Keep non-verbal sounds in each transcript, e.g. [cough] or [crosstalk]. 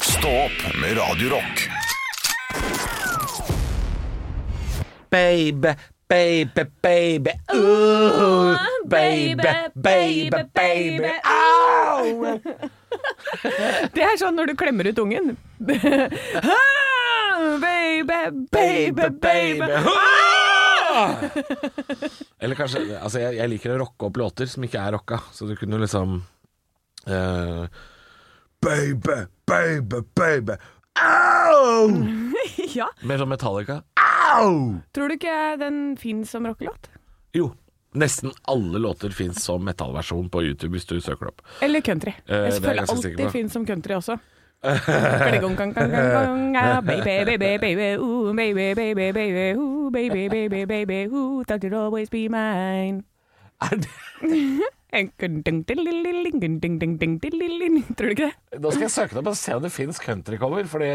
Stå opp med Radio Rock. Baby, baby, baby. Ooh, baby, baby, baby. [laughs] Au! Det er sånn når du klemmer ut ungen. [laughs] Ah, baby, baby, baby. Ah! Eller kanskje Altså, jeg, jeg liker å rocke opp låter som ikke er rocka, så du kunne liksom eh, Baby, baby, baby. Au! Ja, Mer sånn Metallica. Au! tror du ikke den finnes som rockelåt? Jo. Nesten alle låter fins som metallversjon på YouTube hvis du søker det opp. Eller country. Eh, det er Jeg jeg føler ganske sikker alltid på. finnes som [laughs] country også. Gong, gong, gong, gong, gong, ah, Baby, baby, baby, ooh, baby, baby, baby, ooh, baby, baby, baby, ooh, thought you'd always be mine. Er det En kun- ding, ding, ding, ding, ding, ding, ding, ding, ding, ding, ding. Tror du ikke det? Nå skal jeg søke det opp og se om det fins countrycover, fordi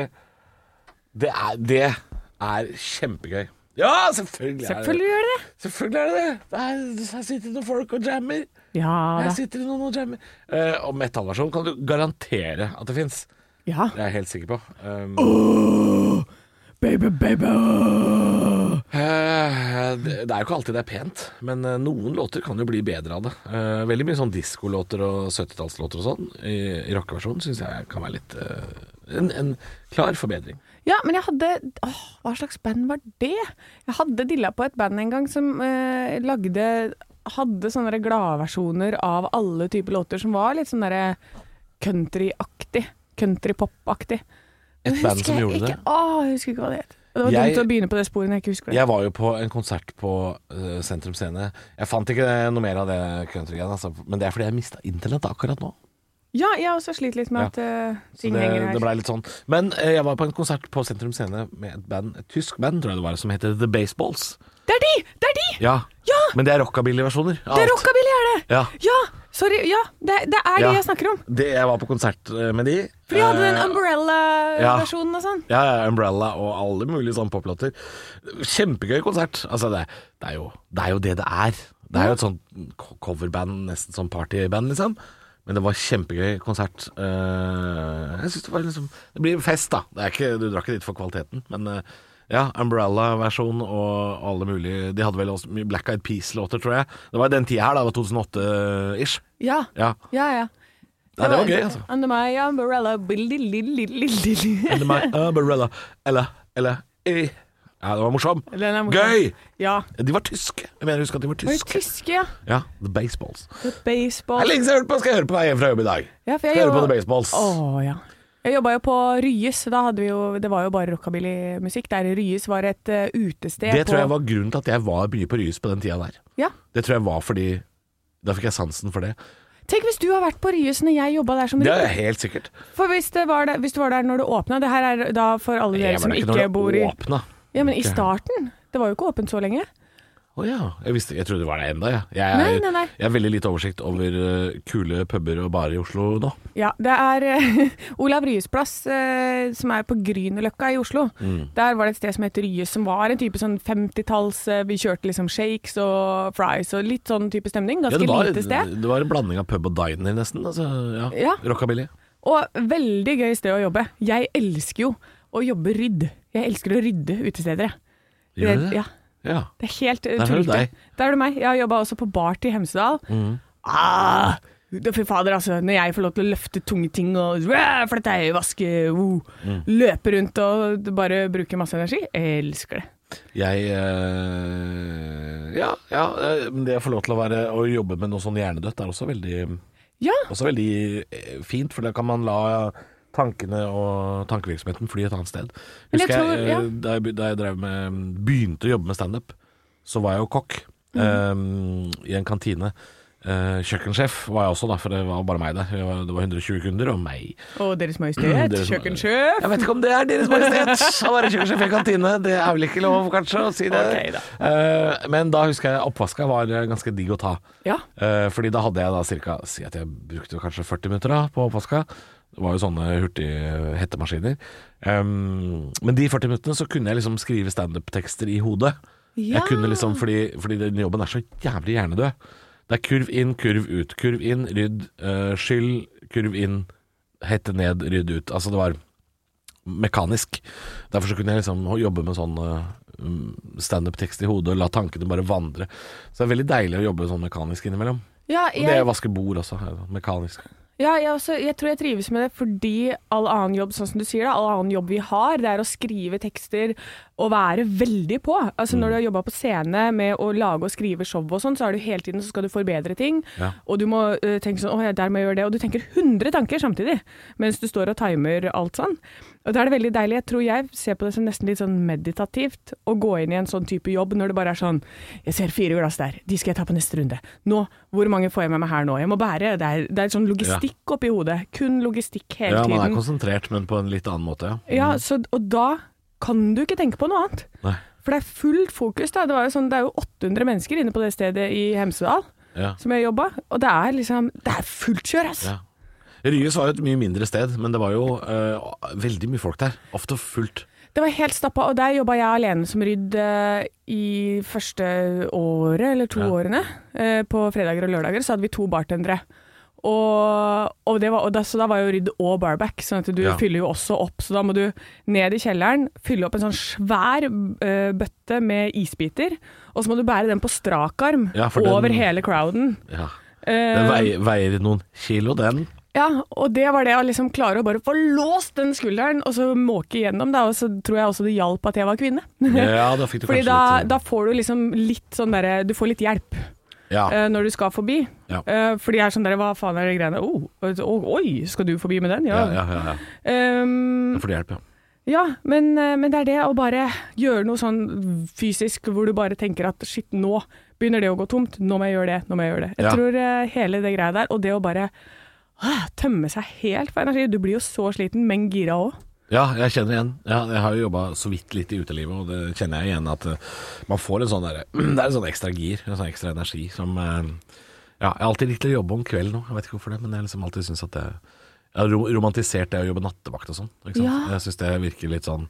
det er, det er kjempegøy. Ja, selvfølgelig er det Selvfølgelig gjør det det. det. Selvfølgelig er det det. det. er- Her sitter det noen folk og jammer. Ja Her da. sitter det noen og jammer. Eh, og metallversjon kan du garantere at det fins. Ja. Det er jeg helt sikker på. Um, Baby, baby. åh. eh, det det er jo ikke alltid det er pent, men eh, noen låter kan jo bli bedre av det. Eh, veldig mye sånn diskolåter og 70-tallslåter og sånn i, i rockeversjonen syns jeg kan være litt eh, en, en klar forbedring. Ja, men jeg hadde åh, Hva slags band var det? Jeg hadde dilla på et band en gang som eh, lagde Hadde sånne der gladversjoner av alle typer låter som var litt sånn derre countryaktig. Countrypop-aktig. Men Et band husker som jeg gjorde ikke, det. Åh, jeg husker ikke hva det het. Det var Jeg- dumt å begynne på det sporet når jeg ikke husker det. Jeg var jo på en konsert på eh, Sentrum Scene. Jeg fant ikke noe mer av det countrygreiene, altså. men det er fordi jeg mista internett akkurat nå. Ja, jeg har også slitt litt med Ja. at eh, Så ting det, henger det her. ble litt sånn. Men eh, jeg var på en konsert på Sentrum Scene med et band, et tysk band, tror jeg det var, som heter The Baseballs. Det er de! Det er de! Ja. Men det er rockabilly-versjoner. av Det er alt. rockabilly, er det! Ja. Ja! Sorry. Ja, det, det er Ja. de jeg snakker om. Det, jeg var på konsert eh, med de. For de hadde den Eh, umbrella-versjonen og sånn. ja, ja, Umbrella og alle mulige sånne poplåter. Kjempegøy konsert. Altså, det, det, er jo, det er jo det det er. Det er jo et sånt co- coverband, nesten som partyband, liksom. Men det var kjempegøy konsert. Eh, jeg synes Det var liksom Det blir fest, da. Det er ikke, du drar ikke dit for kvaliteten, men eh, ja, Umbrella-versjon og alle mulige De hadde vel også mye Black Eyed Peas-låter, tror jeg. Det var den tida her, da. Det var 2008-ish. Ja. Ja. Ja, ja. Nei, det var gøy, altså. Under my umbrella billy, lilly, lilly, lilly. Under my umbrella Eller, eller eh. Ja, det var morsom. Den er morsom. Gøy! Ja. De var tyske. Jeg mener, husk at de var Var det tyske. tyske, ja? Ja, The Baseballs. The Det er baseball. lenge siden jeg har hørt på. Skal jeg høre på vei hjem fra jobb i dag. Ja, for Skal jeg jeg høre på jobba- The Baseballs. Å ja. Jeg jobba jo på Ryes. Da hadde vi jo, det var jo bare rockabillymusikk. Der Ryes var et eh, utested det tror jeg på var grunnen til at jeg var mye på Ryes på den tida der. Ja. Det tror jeg var fordi Da fikk jeg sansen for det. Tenk hvis du har vært på Ryes når jeg jobba der som Det er rytter. helt sikkert. For hvis, det var der, hvis du var der når det åpna Det her er da for alle dere Jeg var som der ikke, ikke når det bor i åpna. Ja, men i Ikke- starten. Det var jo ikke åpent så lenge. Å ja. Jeg, visste, jeg trodde det var der ennå, jeg. Jeg, er- Nei, nei, nei. jeg har veldig lite oversikt over eh, kule puber og barer i Oslo nå. Ja, det er eh, [laughs] Olav Ryes plass, eh, som er på Grünerløkka i Oslo. Mm. Der var det et sted som het Ryes, som var en type sånn 50-talls eh, Vi kjørte liksom shakes og fries og litt sånn type stemning. Ja, Ganske det, var, lite sted. det var en blanding av pub og diner, nesten. Altså, ja. Ja. Rockabilly. Og veldig gøy sted å jobbe. Jeg elsker jo å jobbe rydd. Jeg elsker å rydde utesteder, jeg. Gjør du det? Ja, Ja. det er helt eh, Der er det tullete. deg. Mm. Der er det meg. Jeg har jobba også på bar til Hemsedal. Ah, det- Fy fader, altså. Når jeg får lov til å løfte tunge ting og Wow, flytte ei, vaske, wow. Mm. løpe rundt og bare bruke masse energi. Jeg elsker det. Jeg eh, Ja, ja eh, men det å få lov til å, være, å jobbe med noe sånn hjernedødt er også veldig, Ja, også veldig eh, fint, for da kan man la tankene og tankevirksomheten fly et annet sted. Men Husker jeg jeg, tror- eh, ja. da jeg, be- da jeg drev med, begynte å jobbe med standup, så var jeg jo kokk Mm. eh, i en kantine. Eh, kjøkkensjef var jeg også, da, for det var bare meg der. Det var, det var 120 kunder og meg. og Deres Majestet, [clears throat] Deres Ma- kjøkkensjef. Jeg vet ikke om det er Deres Majestet å være kjøkkensjef i kantine. Det er vel ikke lov, kanskje, å si det. Ok, da. Eh, men da husker jeg oppvaska var eh, ganske digg å ta. Ja. Eh, fordi da hadde jeg da cirka Si at jeg brukte kanskje 40 minutter da på oppvaska. Det var jo sånne hurtige hettemaskiner. Um, men de 40 minuttene så kunne jeg liksom skrive standup-tekster i hodet. Ja. Jeg kunne liksom, fordi, fordi den jobben er så jævlig hjernedød. Det er kurv inn, kurv ut, kurv inn, rydd, eh, skyll, kurv inn, hette ned, rydd ut. Altså det var mekanisk. Derfor så kunne jeg liksom jobbe med sånn eh, standup-tekst i hodet og la tankene bare vandre. Så det er veldig deilig å jobbe sånn mekanisk innimellom. Ja, Og det jeg, å vaske bord også, er sånn mekanisk. ja jeg, også, jeg tror jeg trives med det fordi all annen jobb, sånn som du sier, da, all annen jobb vi har, det er å skrive tekster og være veldig på. Altså Når du har jobba på scene med å lage og skrive show og sånn, så er du hele tiden så skal du forbedre ting. Ja. Og du må eh, tenke sånn, å ja, der må jeg gjøre det. Og du tenker 100 tanker samtidig, mens du står og timer alt sånn. Og da er det veldig deilig. Jeg tror jeg ser på det som nesten litt sånn meditativt å gå inn i en sånn type jobb når det bare er sånn, jeg ser fire glass der, de skal jeg ta på neste runde. Nå, hvor mange får jeg med meg her nå? Jeg må bære. Det er, det er sånn logistikk oppi hodet. Kun logistikk hele Ja, man er tiden. konsentrert, men på en litt annen måte. Ja, så, og da kan du ikke tenke på noe annet. Nei. For det er fullt fokus da. Det, var jo sånn, det er jo 800 mennesker inne på det stedet i Hemsedal Ja. som jeg jobba, og det er liksom, det er fullt kjør, ass. Ja. Ryes var jo et mye mindre sted, men det var jo eh, veldig mye folk der. Ofte fullt. Det var helt stappa, og der jobba jeg alene som rydd eh, i første året, eller to Ja. årene. Eh, på fredager og lørdager så hadde vi to bartendere. Og, og det var, og da, så da var jo rydd og barback, sånn at du Ja. fyller jo også opp. Så da må du ned i kjelleren, fylle opp en sånn svær eh, bøtte med isbiter, og så må du bære den på strak arm Ja, for den- over hele crowden. Ja. Eh, Den veier, veier noen kilo, den. [laughs] Ja, og det var det å liksom klare å bare få låst den skulderen, og så måke igjennom, da. Og så tror jeg også det hjalp at jeg var kvinne. Ja, da fikk du Fordi kanskje da, litt sånn. da får du liksom litt sånn derre Du får litt hjelp ja. eh, når du skal forbi. Ja. Eh, fordi jeg er sånn derre Hva faen er de greiene oh, å- Oi, skal du forbi med den? ja, Ja. ja, ja, ja. Ehm, Da får du hjelp, ja. ja men, eh, men det er det å bare gjøre noe sånn fysisk hvor du bare tenker at shit, nå begynner det å gå tomt. Nå må jeg gjøre det, nå må jeg gjøre det. Jeg Ja. tror eh, hele det greia der, og det å bare ah, tømme seg helt for energi Du blir jo så sliten, men gira òg. Ja, jeg kjenner igjen. Ja, jeg har jo jobba så vidt litt i utelivet, og det kjenner jeg igjen at eh, man får en sånn derre [clears throat] Det er en sånn ekstra gir, en sånn ekstra energi som eh, Ja, jeg har alltid likt å jobbe om kvelden nå, jeg vet ikke hvorfor det, men jeg har liksom alltid syns at det Jeg har ro- romantisert det å jobbe nattevakt og sånn. Ikke sant? Ja. Jeg syns det virker litt sånn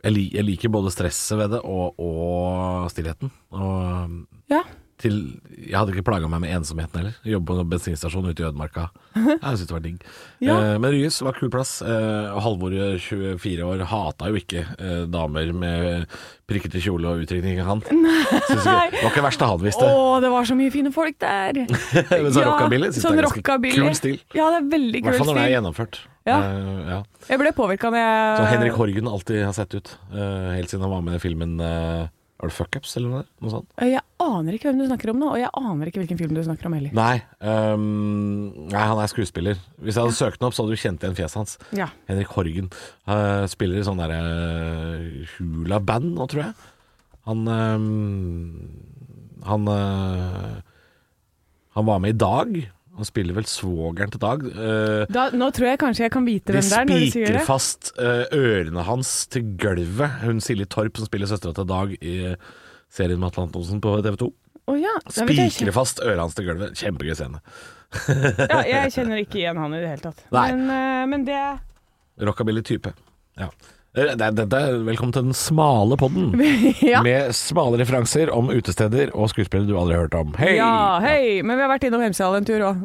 jeg, li, jeg liker både stresset ved det og, og stillheten. Og Ja. til Jeg hadde ikke plaga meg med ensomheten heller. Jobbe på en bensinstasjon ute i ødemarka. Jeg syntes det var digg. Ja. Eh, men Ryes var kul plass. Eh, og Halvor, eh, 24 år, hata jo ikke eh, damer med prikkete kjole og utringning. [laughs] Han Synes ikke, det var ikke verst av han Å, visste. det var så mye fine folk der! [laughs] Men så rockabilly syns sånn jeg er ganske rockabilly. kul stil. Ja, det er veldig I kul hvert fall når det er stil. gjennomført. Ja. Eh. Eh, ja. Jeg ble påvirka når jeg Så Henrik Horgen alltid har sett ut, eh, helt siden han var med i filmen eh, Er det Fuck Ups, eller noe, der? noe sånt? Jeg aner ikke hvem du snakker om nå, og jeg aner ikke hvilken film du snakker om heller. Nei, ehm, nei, han er skuespiller. Hvis jeg hadde søkt han opp, så hadde du kjent igjen fjeset hans. Ja. Henrik Horgen. eh, spiller i sånn derre hula-band nå, tror jeg. Han ehm, Han eh, Han var med i Dag. Han spiller vel svogeren til Dag. Eh, Da, nå tror jeg kanskje jeg kan vite de hvem det er, når du sier spiker det. fast eh, ørene hans til gulvet. Hun Silje Torp som spiller søstera til Dag i eh, serien med Atle Antonsen på TV 2. Å ja, da vet jeg Spikre fast ørene hans til gulvet. Kjempegøy scene. ikke. ja, jeg kjenner ikke igjen han i det hele tatt. Nei. Men, eh, men det Rockabilly-type. Ja. Eh, det- Dette er velkommen til den smale podden. [laughs] ja. Med smale referanser om utesteder og skuespillere du aldri har hørt om. Hei! ja, hei! Men vi har vært innom Hemsedal en tur òg.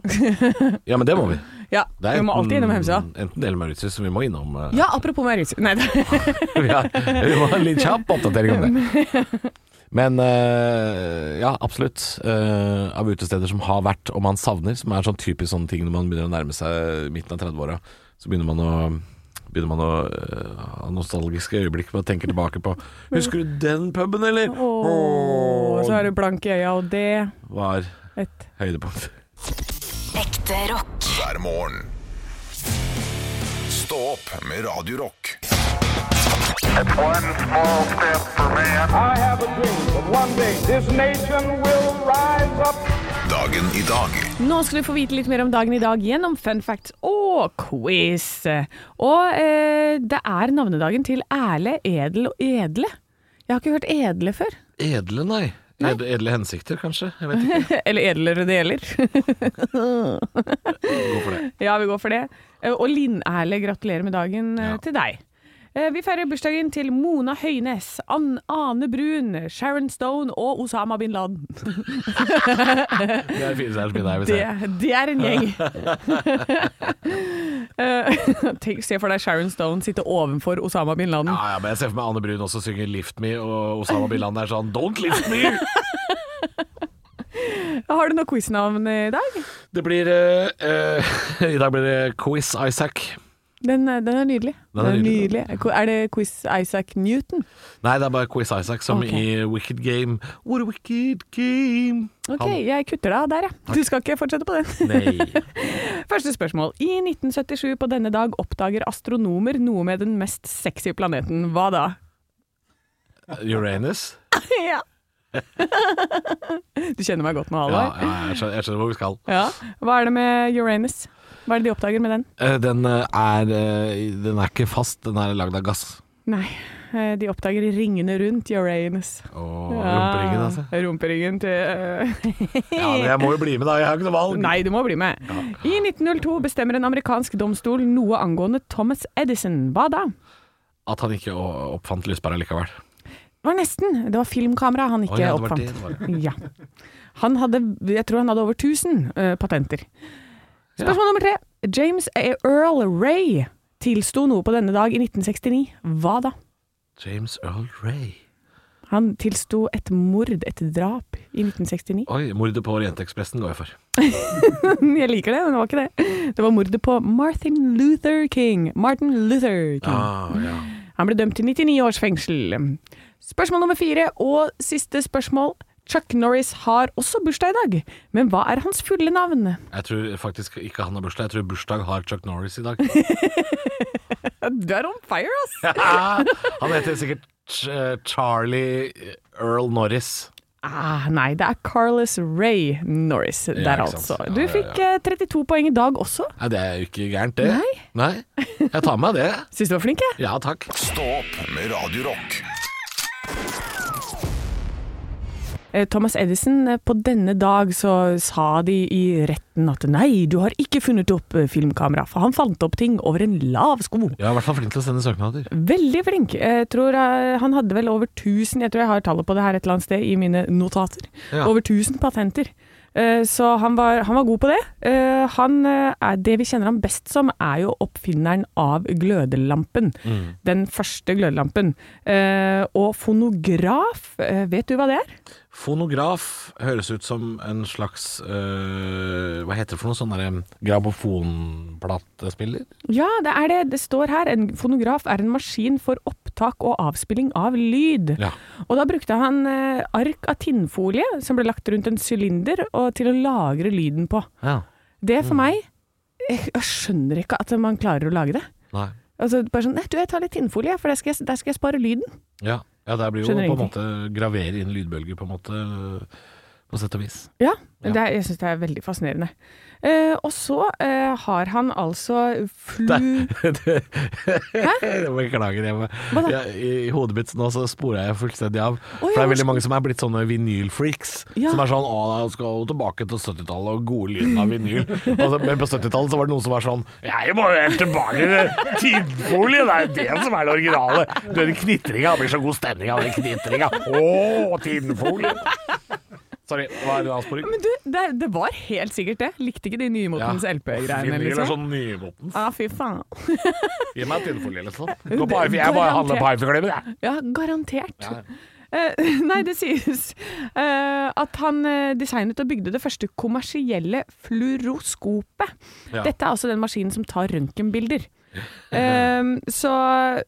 Ja, men det må vi. [laughs] ja, Det er vi må enten- alltid innom Hemsedal. Enten det eller Mauritius, så vi må innom. eh, Ja, apropos Mauritius. Nei, [laughs] det- [laughs] vi, har, vi må ha en litt kjapp oppdatering om det. [laughs] Men eh, ja, absolutt. Eh, av utesteder som har vært, og man savner, som er sånn typisk sånne ting når man begynner å nærme seg midten av 30-åra, så begynner man å Begynner man å eh, ha nostalgiske øyeblikk med å tenke tilbake på Husker du den puben, eller? Åh, så har du blanke øya, og det Var et høydepunkt. Ekte rock. hver morgen. Stå opp med Radio Rock. It's one small step for man. I have a dream that one day this nation will rise up. Dagen i dag Nå skal du få vite litt mer om dagen i dag gjennom fun facts og quiz. Og eh, det er navnedagen til Erle, Edel og Edle. Jeg har ikke hørt Edle før. Edle, nei. Ed, edle hensikter, kanskje? Jeg vet [laughs] ikke. Eller Edlere det gjelder. [laughs] Gå for det. ja, vi går for det. Eh, Og Linn-Erle, gratulerer med dagen eh, Ja. til deg. Eh, Vi feirer bursdagen til Mona Høines, Ann Ane Brun, Sharon Stone og Osama bin Laden. Det er det fineste her som er der, hvis Det, jeg- det er en gjeng. [laughs] Eh, [laughs] Tenk, se for deg Sharon Stone sitte ovenfor Osama bin Laden. Ja, ja, men jeg ser for meg Anne Brun også synge 'Lift Me', og Osama bin Laden er sånn 'Don't lift [laughs] me'! Har du noe quiznavn i dag? Det blir eh, eh, [laughs] I dag blir det Quiz Isaac. Den, er- den er nydelig. Den er nydelig. nydelig. Er det quiz Isaac Newton? Nei, det er bare Quiz Isaac, som Ok. i Wicked Game. What a wicked game! Ok, Han- jeg kutter deg av der, jeg. Du skal ikke fortsette på den. [laughs] Nei. Første spørsmål. I 1977 på denne dag oppdager astronomer noe med den mest sexy planeten. Hva da? [laughs] Uranus? ja. [laughs] du kjenner meg godt nå, Ja, Halvor. ja jeg, skjønner, jeg skjønner hvor vi skal. Ja. Hva er det med Uranus? Hva er det de oppdager med den? Eh, Den eh, er, eh, den er ikke fast, den er lagd av gass. Nei, eh, de oppdager ringene rundt Uranus. Og rumperingen, altså. Ja, rumperingen til eh, Ja, men jeg må jo bli med, da. Jeg har ikke noe valg. Nei, du må bli med. I 1902 bestemmer en amerikansk domstol noe angående Thomas Edison. Hva da? At han ikke å- oppfant lyspæra likevel. Det var nesten. Det var filmkamera han ikke Å ja, det var oppfant. det det var, ja. Han hadde, jeg tror han hadde over 1000 eh, patenter. Spørsmål nummer tre. James A. Earl Ray tilsto noe på denne dag i 1969. Hva da? James Earl Ray. Han tilsto et mord, et drap, i 1969. Oi, mordet på Orientekspressen går jeg for. [laughs] Jeg liker det, men det var ikke det. Det var mordet på Martin Luther King. Martin Luther King. Ah, ja. Han ble dømt til 99 års fengsel. Spørsmål nummer fire, og siste spørsmål. Chuck Norris har også bursdag i dag, men hva er hans fulle navn? Jeg tror faktisk ikke han har bursdag. Jeg tror bursdag har Chuck Norris [laughs] i dag. Du er on fire, ass! han heter sikkert Ch eh, Charlie eh, Earl Norris. Ah, nei, det er Carlos Ray Norris der, ikke altså. sant. Ja, Du ja, ja. fikk eh, 32 poeng i dag også. Nei, det er jo ikke gærent, det. Nei. Jeg tar med meg det. Syns du var flink, jeg. Ja, takk. Stå opp med Radio Rock. Eh, Thomas Edison, eh, på denne dag så sa de i retten at nei, du har ikke funnet opp eh, filmkamera, for han fant opp ting over en lav sko. Jeg er i hvert fall flink til å sende søknader. Veldig flink. Jeg tror eh, Han hadde vel over 1000 Jeg tror jeg har tallet på det her et eller annet sted i mine notater. Ja. Over 1000 patenter. Eh, Så han var, han var god på det. Eh, Han eh, er, det vi kjenner ham best som, er jo oppfinneren av glødelampen. Den første glødelampen. Eh, Og fonograf, eh, vet du hva det er? Fonograf høres ut som en slags øh, Hva heter det for noe? Sånn derre gramofonplatespiller? Ja, det er det. Det står her. En fonograf er en maskin for opptak og avspilling av lyd. Ja. Og da brukte han eh, ark av tinnfolie som ble lagt rundt en sylinder og til å lagre lyden på. ja. Det Mm. for meg Jeg jeg skjønner ikke at man klarer å lage det. Nei. Altså bare sånn Nei, du, jeg tar litt tinnfolie, for der skal jeg, der skal jeg spare lyden. Ja. ja, der blir jo Skjønner på en måte gravere inn lydbølger, på en måte. På sett og vis. [laughs] Ja. Ja. Det er, jeg syns det er veldig fascinerende. Eh, og så eh, har han altså flu... Det- Jeg Beklager. Jeg, må- Hva da? jeg, I hodet mitt nå så sporer jeg fullstendig av. Å, for det ja, er hva veldig mange som er blitt sånne vinylfreaks. Ja. Som er sånn Å, jeg skal tilbake til 70-tallet og gode lyden av vinyl. Og så- men på 70-tallet så var det noen som var sånn Jeg må jo helt tilbake til tinnfolie! Det er jo det som er det originale. Du hører knitringa. Det blir så god stemning av den knitringa. Å, tinnfolie! Sorry, det var en avsporing. Men du, det, det var helt sikkert det. Likte ikke de nymotens LP-greiene, Vinyl er liksom. sånn nymotens. Ja, ah, fy faen. Gi meg tinnfolie, liksom. Det- Gå på, Ivy- jeg bare handler på Ivy-klubben, jeg. [laughs] Ja, garantert. Eh, [laughs] nei, det sies eh, at han eh, designet og bygde det første kommersielle fluoroskopet. Ja. Dette er altså den maskinen som tar [laughs] røntgenbilder. Ehm, så,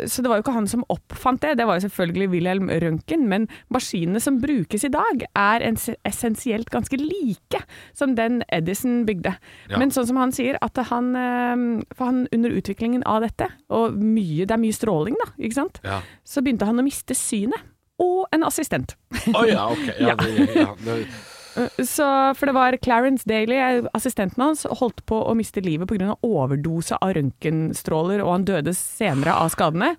så det var jo ikke han som oppfant det, det var jo selvfølgelig Wilhelm Røntgen, men maskinene som brukes i dag er ens essensielt ganske like som den Edison bygde. Ja. Men sånn som han sier, at han, ehm, for han under utviklingen av dette, og mye, det er mye stråling da, ikke sant? Ja. så begynte han å miste synet. Og en assistent. Å ja, ok. Ja, det, ja, det, Så, for det var Clarence Daly, assistenten hans, holdt på å miste livet pga. overdose av røntgenstråler, og han døde senere av skadene.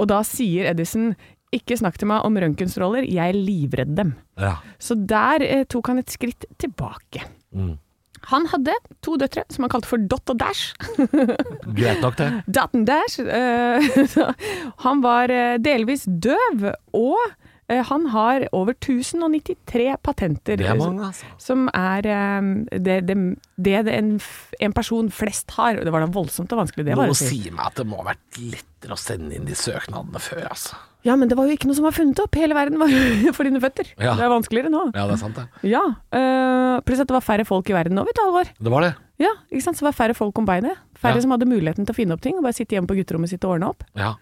Og da sier Edison ikke snakk til meg om røntgenstråler, jeg er livredd dem. ja. Så der eh, tok han et skritt tilbake. Han hadde to døtre som han kalte for Dot og Dash. Greit nok, det. Dot and Dash. eh, [laughs] så han var eh, delvis døv, og eh, han har over 1093 patenter. Det er mange, altså. Som er eh, det, det, det en, f- en person flest har. Og Det var da voldsomt og vanskelig, det. var Noe å si. sier meg at det må ha vært lettere å sende inn de søknadene før, altså. Ja, men det var jo ikke noe som var funnet opp. Hele verden var [laughs] jo for dine føtter. Ja. Det er vanskeligere nå. Ja, det er sant, det. Ja. eh, pluss at det var færre folk i verden over tolv år. Det var det. Ja, ikke sant? Så det var færre folk om beinet. Færre Ja. som hadde muligheten til å finne opp ting og bare sitte hjemme på gutterommet sitt og ordne opp. Ja.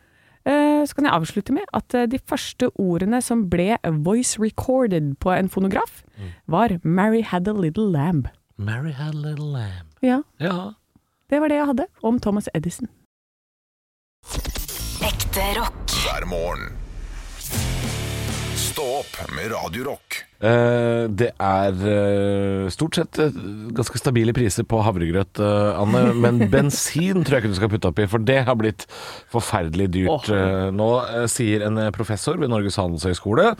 Eh, Så kan jeg avslutte med at eh, de første ordene som ble voice recorded på en fonograf, var 'Mary had a little lamb'. Mary had a little lamb. Ja, Ja. det var det jeg hadde om Thomas Edison. Ekte rock. hver morgen. Stå opp med Radio Rock. Eh, det er eh, stort sett eh, ganske stabile priser på havregrøt, eh, Anne. Men bensin tror jeg ikke du skal putte oppi, for det har blitt forferdelig dyrt. Eh, nå eh, sier en eh, professor ved Norges handelshøyskole,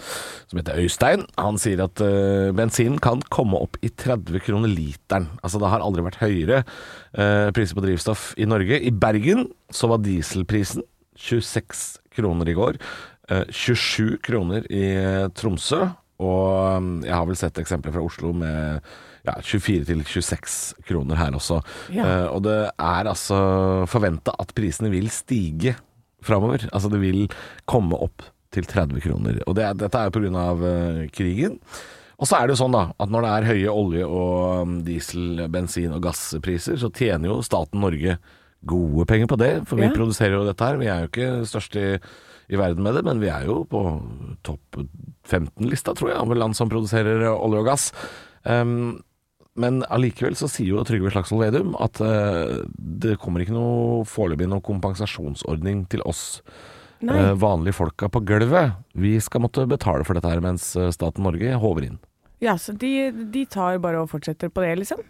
som heter Øystein, han sier at eh, bensin kan komme opp i 30 kroner literen. Altså det har aldri vært høyere eh, priser på drivstoff i Norge. I Bergen så var dieselprisen 26 kroner i går. eh, 27 kroner i eh, Tromsø. Og um, jeg har vel sett eksempler fra Oslo med ja, 24 til 26 kroner her også. Ja. Eh, og det er altså forventa at prisene vil stige framover. Altså det vil komme opp til 30 kroner. Og det, er- dette er jo pga. Uh, krigen. Og så er det jo sånn da, at når det er høye olje- og um, diesel-, bensin- og gasspriser, så tjener jo staten Norge gode penger på det. For vi Ja. produserer jo dette her. Vi er jo ikke størst i, i verden med det, men vi er jo på topp 15-lista, tror jeg, over land som produserer olje og gass. Um, men allikevel så sier jo Trygve Slagsvold Vedum at eh, det kommer ikke noe foreløpig noen kompensasjonsordning til oss eh, vanlige folka på gulvet. Vi skal måtte betale for dette her mens eh, staten Norge håver inn. Ja, så de, de tar bare og fortsetter på det, liksom?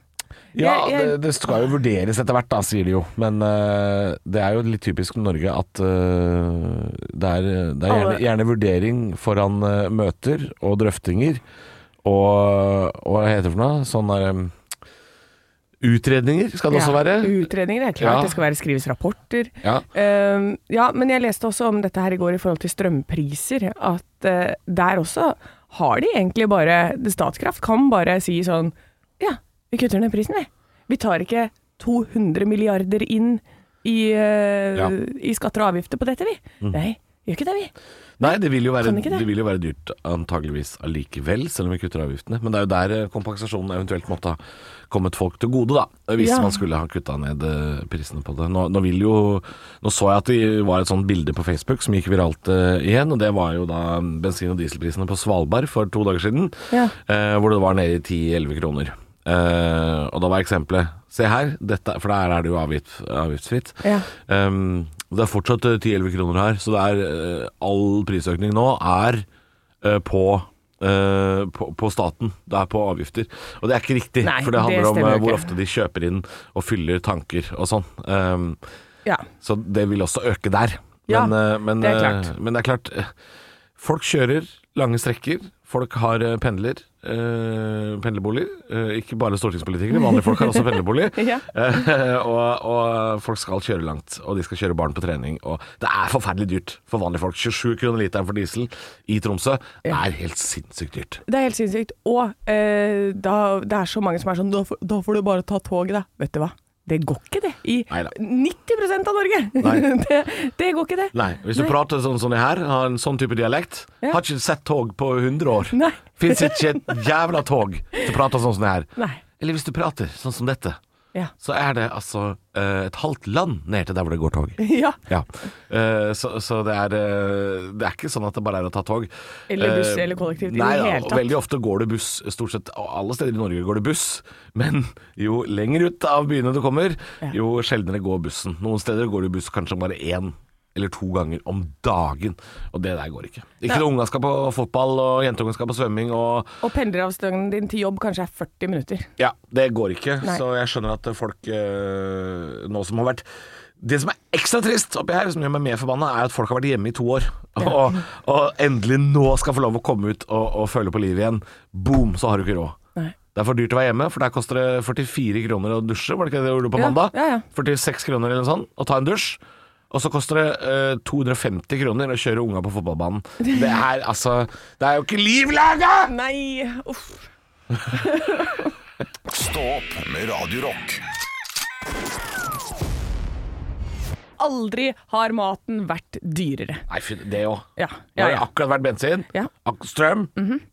Ja, Jeg- jeg- det, det skal jo vurderes etter hvert, da, sier de jo. Men eh, det er jo litt typisk Norge at eh, det er, det er gjerne, Alle- gjerne vurdering foran eh, møter og drøftinger og, og hva heter det for noe? Sånn der eh, Utredninger skal det også Ja, være. Utredninger, det er klart. Ja. Det skal være skrives rapporter. Ja. Eh, ja, men jeg leste også om dette her i går i forhold til strømpriser, at eh, der også har de egentlig bare Statkraft kan bare si sånn Ja, vi kutter ned prisen, vi. Vi tar ikke 200 milliarder inn i, eh, Ja. Mm. i skatter og avgifter på dette, vi. Nei, vi gjør ikke det, vi. Nei, det vil, jo være, Kan ikke det? det vil jo være dyrt antageligvis allikevel, selv om vi kutter avgiftene. Men det er jo der eh, kompensasjonen eventuelt måtte ha kommet folk til gode, da. Hvis Ja. man skulle ha kutta ned eh, prisene på det. Nå, nå vil jo Nå så jeg at det var et sånt bilde på Facebook som gikk viralt eh, igjen, og det var jo da mm, bensin- og dieselprisene på Svalbard for to dager siden, Ja. eh, hvor det var nede i 10-11 kroner. Eh, og da var eksempelet Se her, dette, for der er det jo avgift, avgiftsfritt. Ja. Ehm, det er fortsatt eh, 10-11 kroner her, så det er eh, all prisøkning nå er eh, på eh, på, på staten. Det er på avgifter. Og det er ikke riktig, Nei, for det handler det om stemmer eh, jo hvor ikke. ofte de kjøper inn og fyller tanker og sånn. Ehm, Ja. så det vil også øke der. Ja, eh, men, det er eh, klart. men det er klart eh, Folk kjører lange strekker. Folk har eh, pendler. eh, pendlerboliger. Eh, ikke bare stortingspolitikere, vanlige folk har også pendlerbolig. [laughs] Ja. [laughs] Eh, og, og folk skal kjøre langt, og de skal kjøre barn på trening. Og det er forferdelig dyrt for vanlige folk. 27 kroner literen for diesel i Tromsø er helt sinnssykt dyrt. Det er helt sinnssykt. Og eh, da, det er så mange som er sånn Da, får- da får du bare ta toget, da. Vet du hva. Det går ikke, det. I Neida. 90 av Norge. Nei. [laughs] det, det går ikke, det. Nei, Hvis du Nei. prater sånn som det her, har en sånn type dialekt Ja. Har ikke sett tog på 100 år. Nei. Fins ikke et jævla tog som prater sånn som det her. Nei. Eller hvis du prater sånn som dette, Ja. [laughs] så er det altså eh, et halvt land ned til der hvor det går [laughs] tog. ja. Ja. Eh, så så det, er, eh, det er ikke sånn at det bare er å ta tog. Eller buss, Eh, eller kollektivt, i Nei, det da, hele tatt. Veldig ofte går det buss. Stort sett alle steder i Norge går det buss. Men jo lenger ut av byene du kommer, Ja. jo sjeldnere går bussen. Noen steder går det buss kanskje bare én eller to ganger om dagen. Og det der går ikke. Ikke når unga skal på fotball, og jentungen skal på svømming, og Og pendleravstanden din til jobb kanskje er 40 minutter. ja, det går ikke. Nei. Så jeg skjønner at folk eh, nå som har vært Det som er ekstra trist oppi her, som gjør meg mer forbanna, er at folk har vært hjemme i to år. [laughs] Og, og endelig nå skal få lov å komme ut og, og føle på livet igjen. Boom, så har du ikke råd. Nei. Det Det er for dyrt å være hjemme, for der koster det 44 kroner å dusje. Var det ikke det du gjorde på Ja, mandag? ja, ja. 46 kroner eller noe sånt, å ta en dusj. Og så koster det eh, 250 kroner å kjøre unga på fotballbanen. Det er altså Det er jo ikke liv laga! Nei, uff. Stå opp med Radio Rock. Aldri har maten vært dyrere. Nei, fy, det òg. Ja, Nå ja, har det ja. akkurat vært bensin. Ja. Mhm. Ak strøm.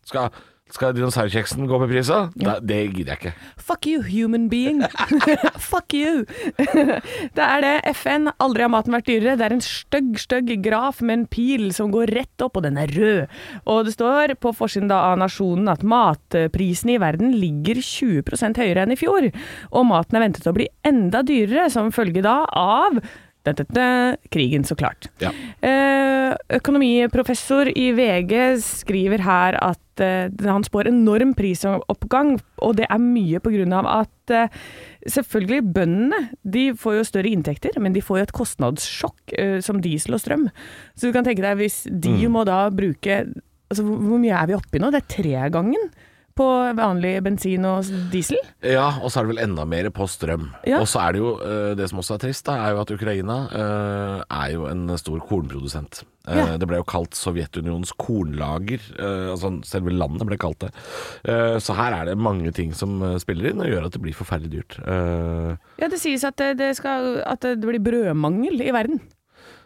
Skal, skal dinosaurkjeksen gå med prisa? Da- Det gidder jeg ikke. Fuck you, human being. [laughs] Fuck you. [laughs] det er det. FN. Aldri har maten vært dyrere. Det er en stygg, stygg graf med en pil som går rett opp, og den er rød. Og det står på forsiden da av Nasjonen at matprisene i verden ligger 20 høyere enn i fjor. Og maten er ventet å bli enda dyrere som følge da av dun, dun, dun, krigen, så klart. Ja. Eh, økonomiprofessor i VG skriver her at eh, han spår enorm prisoppgang, og det er mye på grunn av at eh, selvfølgelig bøndene de får jo større inntekter, men de får jo et kostnadssjokk eh, som diesel og strøm. Så du kan tenke deg hvis de må da bruke altså Hvor hvor mye er vi oppi nå? Det er tregangen på vanlig bensin og diesel. Ja, og så er det vel enda mer på strøm. Ja. Og så er det jo, eh, det som også er trist, da, er jo at Ukraina eh, er jo en stor kornprodusent. Eh, Ja. Det ble jo kalt Sovjetunionens kornlager, eh, altså selve landet ble kalt det. Eh, Så her er det mange ting som eh, spiller inn og gjør at det blir forferdelig dyrt. Eh, Ja, det sies at det, det, skal, at det blir brødmangel i verden.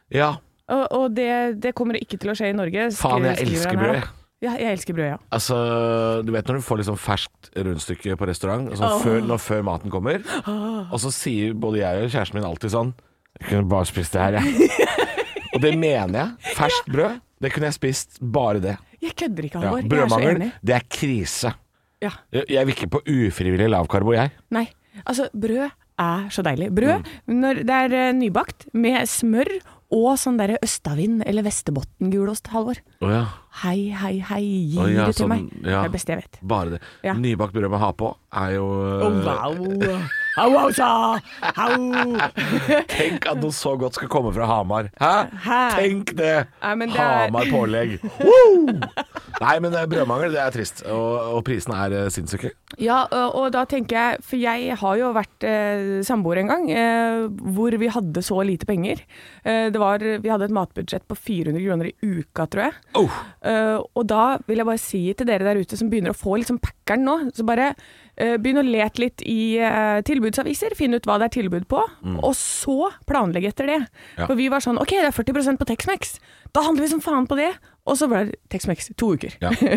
Ja, Og, og det, det kommer ikke til å skje i Norge. skri- faen, jeg skriver elsker han her, da. brød. jeg. Ja, jeg elsker brød, ja. Altså, du vet når du får liksom ferskt rundstykke på restaurant, altså før, når før maten kommer, og så sier både jeg og kjæresten min alltid sånn Jeg kunne bare spist det her, jeg. [laughs] og det mener jeg. Ferskt brød, det kunne jeg spist bare det. Jeg kødder Ja. ikke, Halvor. jeg er så Brødmangel, enig. det er krise. Ja. Jeg jeg vil ikke på ufrivillig lavkarbo, jeg. Nei, altså brød er så deilig. Brød Mm. når det er eh, nybakt med smør og sånn derre østavind eller vestebotngulost, Halvor. Å ja. Hei, hei, hei, gi Å ja, det til sånn, meg. Det ja. er det beste jeg vet. Bare det. Ja. Nybakt brød med ha på er jo eh, wow. Au, au, sa. Au. [laughs] Tenk at noe så godt skal komme fra Hamar. Hæ? Hæ? Tenk det! Nei, men det er- Hamar [laughs] pålegg. Woo! Nei, men det er brødmangel, det er trist. Og, og prisene er eh, sinnssyke. Ja, og, og da tenker jeg, for jeg har jo vært eh, samboer en gang, eh, hvor vi hadde så lite penger. Eh, det var, vi hadde et matbudsjett på 400 kroner i uka, tror jeg. Eh, og da vil jeg bare si til dere der ute som begynner å få liksom packeren nå, så bare eh, begynn å lete litt i eh, tilbudsaviser, finn ut hva det er tilbud på, og så planlegge etter det. Mm. Ja. For vi var sånn, ok, det er 40 på Tex-Mex, da handler vi som faen på det. Og så ble det Tex-Mex to uker. Ja. [laughs]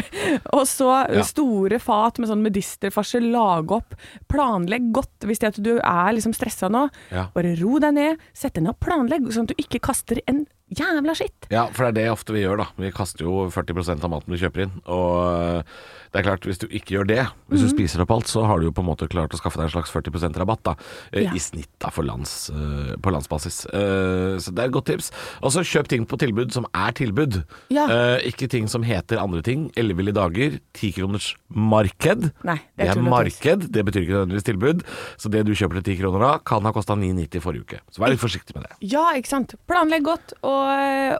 Og så Ja. store fat med sånn medisterfarsel, lage opp, planlegg godt hvis det er at du er liksom stressa nå. Ja. Bare ro deg ned, sett deg ned og planlegg, sånn at du ikke kaster en jævla skitt. Ja, for det er det ofte vi gjør, da. Vi kaster jo 40 av maten vi kjøper inn. Og eh, det er klart, hvis du ikke gjør det, hvis Mhm. du spiser opp alt, så har du jo på en måte klart å skaffe deg en slags 40 rabatt, da. eh, Ja. I snitt, da, for lands, eh, på landsbasis. Eh, Så det er et godt tips. Og så kjøp ting på tilbud som er tilbud. Ja. Eh, Ikke ting som heter andre ting. Elleville dager, tikroners marked. Nei, det det er er tull og tøys. marked, det betyr ikke nødvendigvis tilbud. Så det du kjøper til ti kroner av, kan ha kosta 9,90 forrige uke. Så vær litt forsiktig med det. Ja, ikke sant. Planlegg godt, og,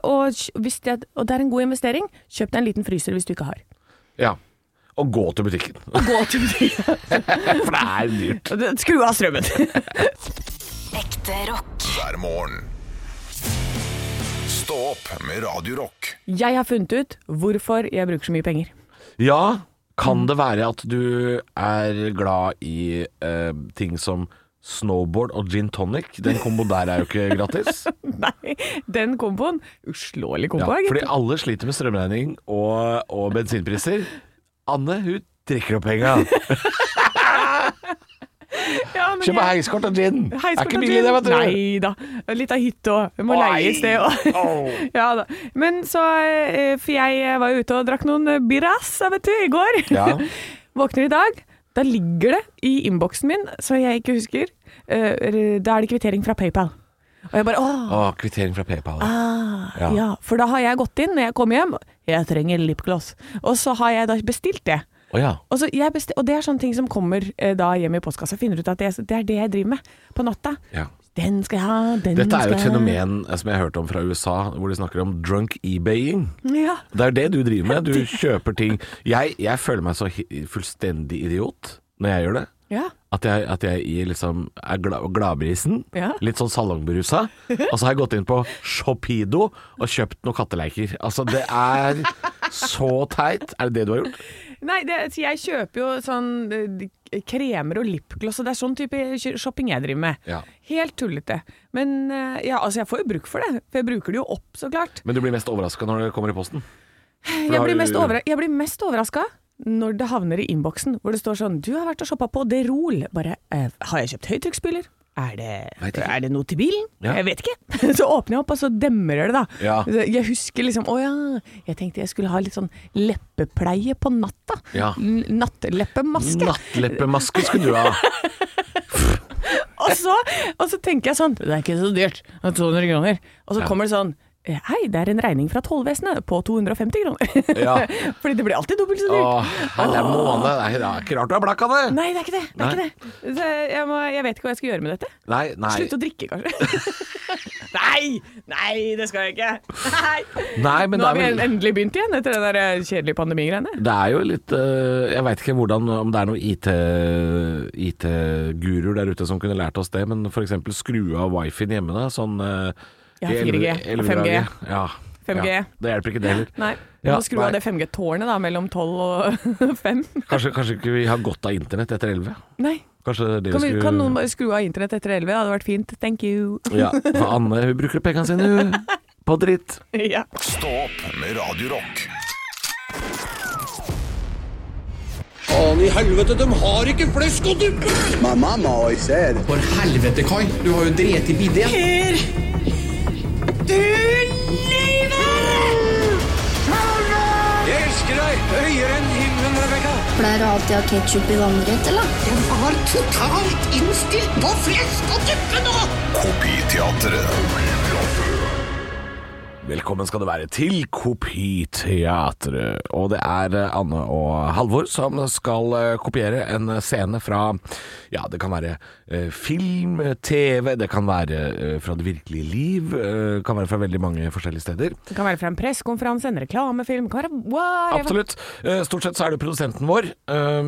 og, kj- hvis det, er- og det er en god investering. Kjøp deg en liten fryser hvis du ikke har. Ja. Og gå til butikken. Og gå til [laughs] butikken. For det er dyrt. Skru av strømmen. Ekte rock. hver morgen. Stå opp med Radio Rock. [laughs] Jeg har funnet ut hvorfor jeg bruker så mye penger. [laughs] Ja, kan det være at du er glad i eh, ting som snowboard og gin tonic? Den kombo der er jo ikke gratis. [laughs] Nei, den komboen. Uslåelig Ja, kombo, fordi egentlig. alle sliter med strømregning og, og bensinpriser. Anne, hun trekker opp penga. Ja, men Kjøper jeg- heiskort og gin. Hei, Er ikke Spartan billig det, vet du. Nei da. Litt av hytte òg. Må leie et sted òg. Åh. ja da. Men så eh, For jeg var jo ute og drakk noen eh, birras, vet du, i går. Ja. [laughs] Våkner i dag. Da ligger det i innboksen min, så jeg ikke husker. eh, Da er det kvittering fra PayPal. Og jeg bare åh, ah, Å, kvittering fra PayPal. ja. Ja. For da har jeg gått inn når jeg kommer hjem. Jeg trenger lipgloss. Og så har jeg da bestilt det. Å ja. Og, så jeg besti- og det er sånne ting som kommer eh, da hjem i postkassa. Jeg Finner ut at det, det er det jeg driver med på natta. ja. Den skal jeg ha, den Dette er jo et skal jeg ha. fenomen eh, som jeg har hørt om fra USA, hvor de snakker om drunk ebaying. Ja. [laughs] Det er det du driver med. Du kjøper ting Jeg, jeg føler meg så hi- fullstendig idiot når jeg gjør det. Ja. At jeg, at jeg i liksom er gla- gladbrisen, Ja. litt sånn salongberusa. Og så har jeg gått inn på Shopido og kjøpt noen katteleker. Altså, det er så teit. Er det det du har gjort? Nei, det, så jeg kjøper jo sånn eh, kremer og lipgloss, og det er sånn type kj- shopping jeg driver med. Ja. Helt tullete. Men eh, ja, altså jeg får jo bruk for det, for jeg bruker det jo opp, så klart. Men du blir mest overraska når det kommer i posten. Jeg har blir du- mest, overra jeg blir mest overraska når det havner i innboksen, hvor det står sånn 'Du har vært og shoppa på Derol'. Bare eh, 'Har jeg kjøpt høytrykksspyler?' Er det, Vet ikke. er det noe til bilen? Ja. Jeg vet ikke. [laughs] Så åpner jeg opp, og så demrer det, da. Ja. Jeg husker liksom Å ja, jeg tenkte jeg skulle ha litt sånn leppepleie på natta. Ja. N- Nattleppemaske. Nattleppemaske skulle [laughs] du ha. Og så, og så tenker jeg sånn Det er ikke så dyrt. det er 200 kroner. Og så Ja. kommer det sånn Hei, det er en regning fra tollvesenet på 250 kroner. Ja. [laughs] Fordi det blir alltid dobbelt så dyrt. Åh, nei, det er måne. Nei, det er ikke rart du er blakk av det. Nei, det er ikke det. det, er Nei. ikke det. Så jeg, må, jeg vet ikke hva jeg skal gjøre med dette. Nei, nei. Slutt å drikke, kanskje. [laughs] nei! Nei, det skal jeg ikke. Nei. Nei, men Nå det har er vi vel endelig begynt igjen etter den der eh, kjedelige pandemigreiene. det er jo litt øh, Jeg veit ikke hvordan, om det er noen IT IT-guruer der ute som kunne lært oss det, men f.eks. skru av wifien hjemme, da. Sånn øh, Ja, i 4G, elleve- og 11 5G. draget. Ja, 5G. Ja, det hjelper ikke det [laughs] heller. Nei. Du Ja, må skru nei. av det 5G-tårnet da, mellom 12 og [laughs] 5. Kanskje, kanskje ikke vi har godt av internett etter 11? Nei. Kanskje det er det Kan, vi, skulle kan noen bare skru av internett etter 11? Det hadde vært fint. Thank you. Ja, for Anne hun bruker pengene sine [laughs] hun, på dritt. ja. Stå opp med Radio Rock. Faen i helvete, de har ikke flesk å duppe! My mama always said. For helvete, Kai. Du har jo dret i bidé. Jeg elsker deg høyere enn himmelen, Rebekka. Pleier du alltid å ha ketsjup i vannrett, eller? Jeg var totalt innstilt på flesk og duppe nå! Kopiteatret. Velkommen skal det være til Kopiteatret. Og det er eh, Anne og Halvor som skal eh, kopiere en scene fra Ja, det kan være eh, film, eh, TV, det kan være eh, fra det virkelige liv. eh, Kan være fra veldig mange forskjellige steder. Det kan være fra en pressekonferanse, en reklamefilm, det kan være whatever. Absolutt. Eh, Stort sett så er det produsenten vår, eh,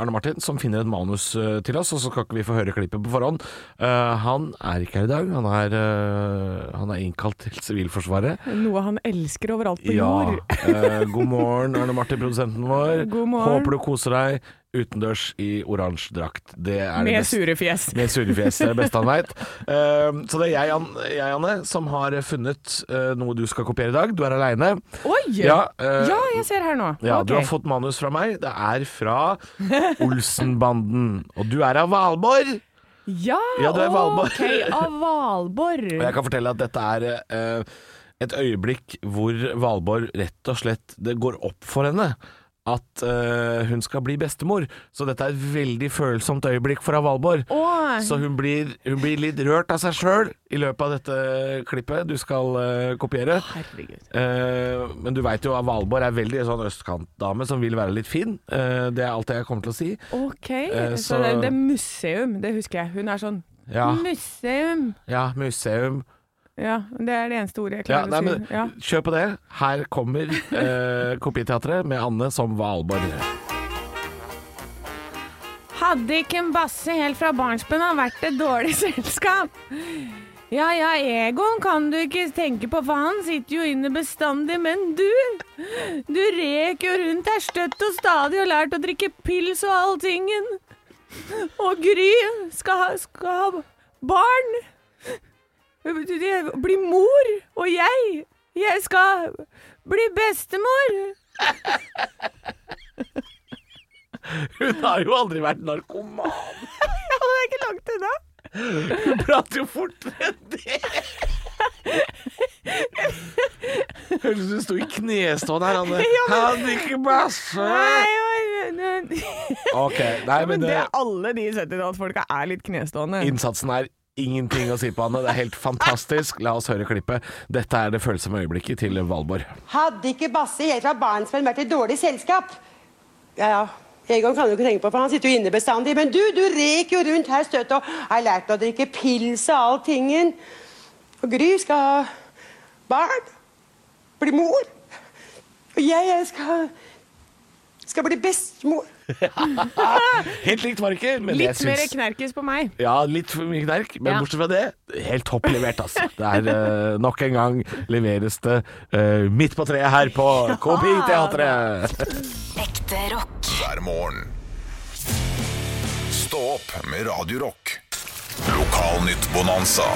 Arne Martin, som finner et manus eh, til oss, og så skal ikke vi få høre klippet på forhånd. Eh, Han er ikke her i dag. Han er, eh, han er innkalt til Sivilforsvaret. Noe han elsker overalt på Ja. jord. eh, god morgen, Arne Martin, produsenten vår. [laughs] God morgen. Håper du koser deg utendørs i oransje drakt. Det er det Med beste. sure fjes. Med surefjes, det er det beste han veit. så det er jeg, Ann- jeg, Anne, som har funnet eh, noe du skal kopiere i dag. Du er aleine. Oi! Ja, eh, ja, jeg ser her nå. Ja, Du Ok. har fått manus fra meg. Det er fra [laughs] Olsenbanden. Og du er av Valborg! Ja, Ja, det er Valborg. ok, av Valborg. Og jeg kan fortelle at dette er eh, et øyeblikk hvor Valborg rett og slett Det går opp for henne at eh, hun skal bli bestemor. Så dette er et veldig følsomt øyeblikk for Valborg. Åh. Så hun blir, hun blir litt rørt av seg sjøl i løpet av dette klippet du skal eh, kopiere. Herregud. Eh, men du veit jo at Valborg er veldig sånn østkantdame som vil være litt fin. Eh, det er alt jeg kommer til å si. Ok, Eh, så, så- det, det er museum, det husker jeg. Hun er sånn Ja, Museum! ja museum. Ja, det er det eneste ordet jeg Ja, klarer nei, å men si. Ja. Kjør på det. Her kommer eh, Kopiteatret med Anne som Valborg. Hadde ikke en basse helt fra barnsben av vært et dårlig [laughs] selskap. Ja ja, Egon kan du ikke tenke på, for han sitter jo inne bestandig, men du Du rek jo rundt her støtt og stadig og lært å drikke pils og alltingen. Og Gry skal ha, skal ha barn. Bli mor. Og jeg, jeg skal bli bestemor. [laughs] [laughs] Hun har jo aldri vært narkoman. Ja, det er ikke langt unna. Hun prater jo fortere enn det. [laughs] Høres ut som du sto i knestående her, [laughs] Anne. Han drikker masse. Nei, men- Ok, nei, Men men eh, det det, er alle de 70-tallsfolka er litt knestående. innsatsen er ingenting å si på, Anne. Det er helt fantastisk. La oss høre klippet. Dette er det følsomme øyeblikket til Valborg. Hadde ikke Basse helt fra barnsben vært et dårlig selskap? Ja, ja. Egon kan du ikke tenke på, for han sitter jo inne bestandig. Men du, du rek jo rundt her støtt og har lært å drikke pils og all tingen. Og Gry skal ha barn. Bli mor. Og jeg, jeg skal, skal bli bestemor. Helt likt var det ikke, men Litt jeg mer syns knerkis på meg. ja, litt for mye knerk, men Ja. bortsett fra det, helt topp levert, altså. Det er eh, nok en gang leveres det eh, midt på treet her på KPI-teatret. Ekte rock. hver morgen. Stå opp med Radio Rock. Lokalnytt Bonanza.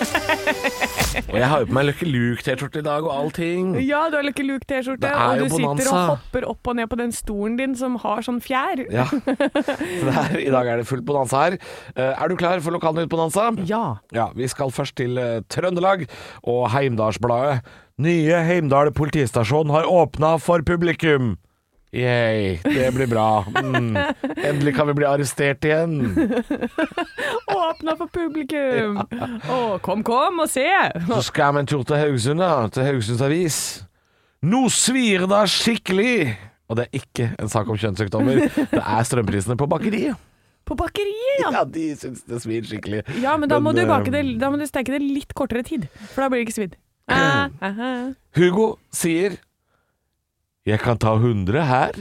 Og jeg har jo på meg Lucky Luke-T-skjorte i dag og allting. Ja, du har Lucky Luke-T-skjorte, Det er og jo du sitter bonanza. og hopper opp og ned på den stolen din som har sånn fjær. Ja. Så det er, I dag er det fullt bonanza her. Eh, Er du klar for Lokalnytt bonanza? Ja. Ja, vi skal først til eh, Trøndelag og Heimdalsbladet. Nye Heimdal politistasjon har åpna for publikum. Yay, det blir bra. Mm. Endelig kan vi bli arrestert igjen. Åpna for publikum! Å, kom, kom og se! Så skal vi en tur til Haugesund, da. Til Haugesunds Avis. Nå svir det skikkelig! Og det er ikke en sak om kjønnssykdommer. Det er strømprisene på bakeriet. På bakeriet, ja! Ja, de syns det svir skikkelig. Ja, men da må du, eh, bake det, da må du steke det litt kortere tid, for da blir det ikke [clears throat] svidd. Ah, ah, ah. Hugo sier Jeg kan ta 100 her.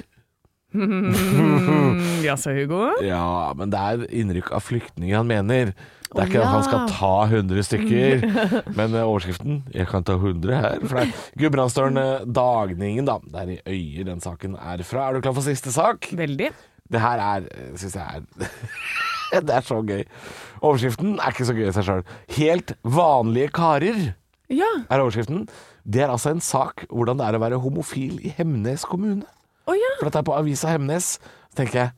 Mm, Jaså, Hugo? Ja, men det er innrykk av flyktninger han mener. Det Å, er ikke at han skal ja. ta 100 [laughs] stykker, men eh, overskriften 'Jeg kan ta 100 her'. For det er Gudbrandsdølen eh, Dagningen, da. Det er i Øyer den saken er fra. Er du klar for siste sak? Veldig. Det her er Syns jeg er [laughs] Det er så gøy. Overskriften er ikke så gøy i seg sjøl. 'Helt vanlige karer' Ja. er overskriften. Det er altså en sak hvordan det er å være homofil i Hemnes kommune. Å ja. For dette er på avisa Hemnes. Så tenker jeg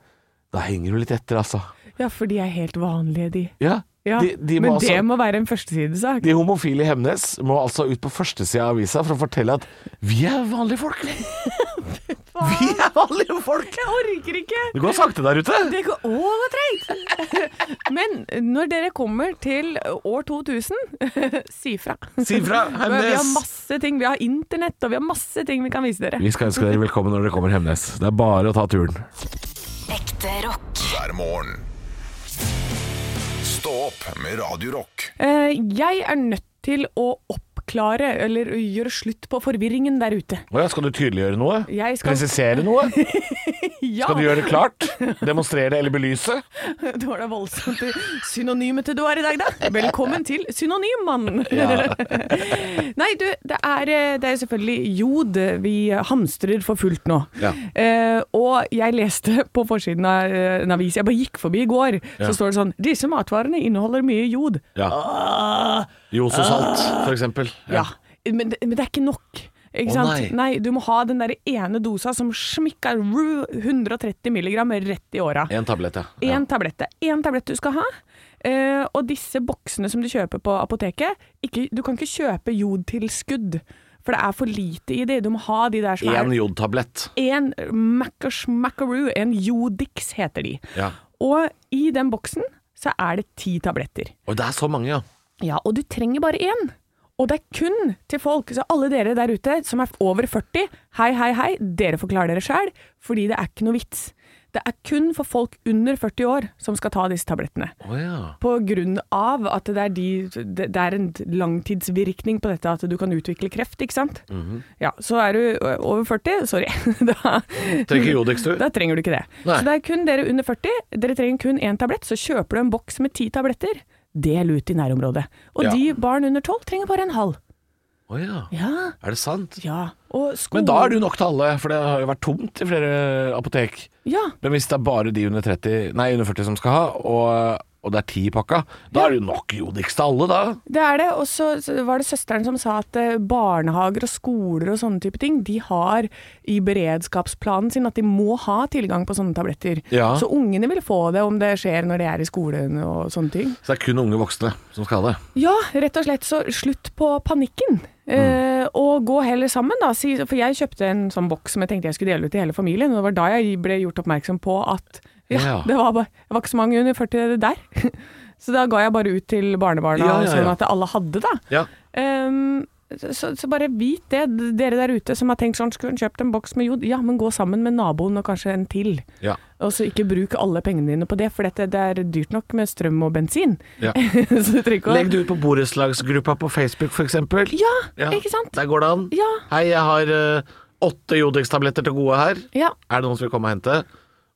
da henger du litt etter, altså. ja, for de er helt vanlige, de. Ja, Ja. De, de, må men altså det må være en førstesidesak. de homofile i Hemnes må altså ut på førstesida av avisa for å fortelle at vi er vanlige [laughs] folk. vi er vanlige folk! Jeg orker ikke! Det går sakte der ute. Det går Å, det var treigt! [laughs] Men når dere kommer til år 2000, [laughs] si fra. Si fra, [laughs] Vi har Hemnes. masse ting. Vi har internett, og vi har masse ting vi kan vise dere. Vi skal ønske dere velkommen når dere kommer Hemnes. Det er bare å ta turen. Ekte rock. hver morgen. Stå opp med Radio Rock. Eh, jeg er nødt til å oppklare, eller gjøre slutt på forvirringen der ute. Å ja, skal du tydeliggjøre noe? Jeg skal- Presisere noe? [laughs] Ja, Skal du gjøre det klart? Demonstrere eller belyse? det var da voldsomt synonymete du er i dag, da. Velkommen til Synonymmannen. [laughs] Nei, du, det er, eh, det er selvfølgelig jod vi hamstrer for fullt nå. Ja. Eh, og jeg leste på forsiden av eh, en avis jeg bare gikk forbi i går, så står det sånn Disse matvarene inneholder mye jod. Ja. Ah. Ljos og salt, for eksempel. Ja, men, det- men det er ikke nok. Ikke Å, sant? nei. Nei. du må ha den der ene dosa som smikker ru, 130 milligram rett i åra. En tablett, ja. Én tablette. Én tablett du skal ha. Eh, og disse boksene som du kjøper på apoteket ikke, Du kan ikke kjøpe jodtilskudd, for det er for lite i de. Du må ha de der som er En jodtablett. en Maccas Macaroo, en Jodix heter de. Ja. Og i den boksen så er det ti tabletter. Og det er så mange, ja. Ja, og du trenger bare én. Og det er kun til folk, så alle dere der ute som er over 40, hei, hei, hei, dere får klare dere sjæl, fordi det er ikke noe vits. Det er kun for folk under 40 år som skal ta disse tablettene. Å ja. På grunn av at det er, de, det er en langtidsvirkning på dette, at du kan utvikle kreft, ikke sant? Ja, så er du ø, over 40, sorry, [laughs] da, Trenger Jodix, du? da trenger du ikke det. Nei. Så det er kun dere under 40, dere trenger kun én tablett, så kjøper du en boks med ti tabletter, del ut i nærområdet. Og Ja. de barn under 12 trenger bare en halv. Å ja. Ja. Er det sant? ja. Og Men skolen da er det jo nok til alle, for det har jo vært tomt i flere apotek. Ja, Men hvis det er bare de under 30, nei, under 40 som skal ha, og, og det er ti i pakka, da er det jo nok Jodix til alle, da. det er det. Og så så var det søsteren som sa at eh, barnehager og skoler og sånne type ting, de har i beredskapsplanen sin at de må ha tilgang på sånne tabletter. Ja. Så ungene vil få det om det skjer når de er i skolen og sånne ting. Så det er kun unge voksne som skal ha det. Ja, rett og slett. Så slutt på panikken. Mm. Eh, og gå heller sammen, da. Si, for jeg kjøpte en sånn boks som jeg tenkte jeg skulle dele ut til hele familien. Og det var da jeg ble gjort oppmerksom på at ja, Ja. det var, bare, det var ikke så mange under 40 [laughs] der. så da ga jeg bare ut til barnebarna, Ja, ja, ja. sånn at alle hadde, da. Ja. Ehm, så, så bare vit det, dere der ute som har tenkt sånn, skulle hun kjøpt en boks med jod? Ja, men gå sammen med naboen og kanskje en til. Ja. Og så ikke bruk alle pengene dine på det, for dette, det er dyrt nok med strøm og bensin. Ja. [laughs] så du trenger ikke å Legg det ut på borettslagsgruppa på Facebook, f.eks. Ja, ikke sant? Der går det an. Ja. Hei, jeg har eh, åtte Jodex-tabletter til gode her. Ja. Er det noen som vil komme og hente?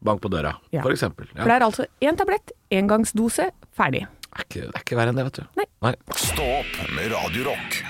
Bank på døra, Ja. for eksempel. Ja. For det er altså én tablett, engangsdose, ferdig. Det er ikke, det er ikke verre enn det, vet du. Nei. Nei. Stå opp med Radio Rock.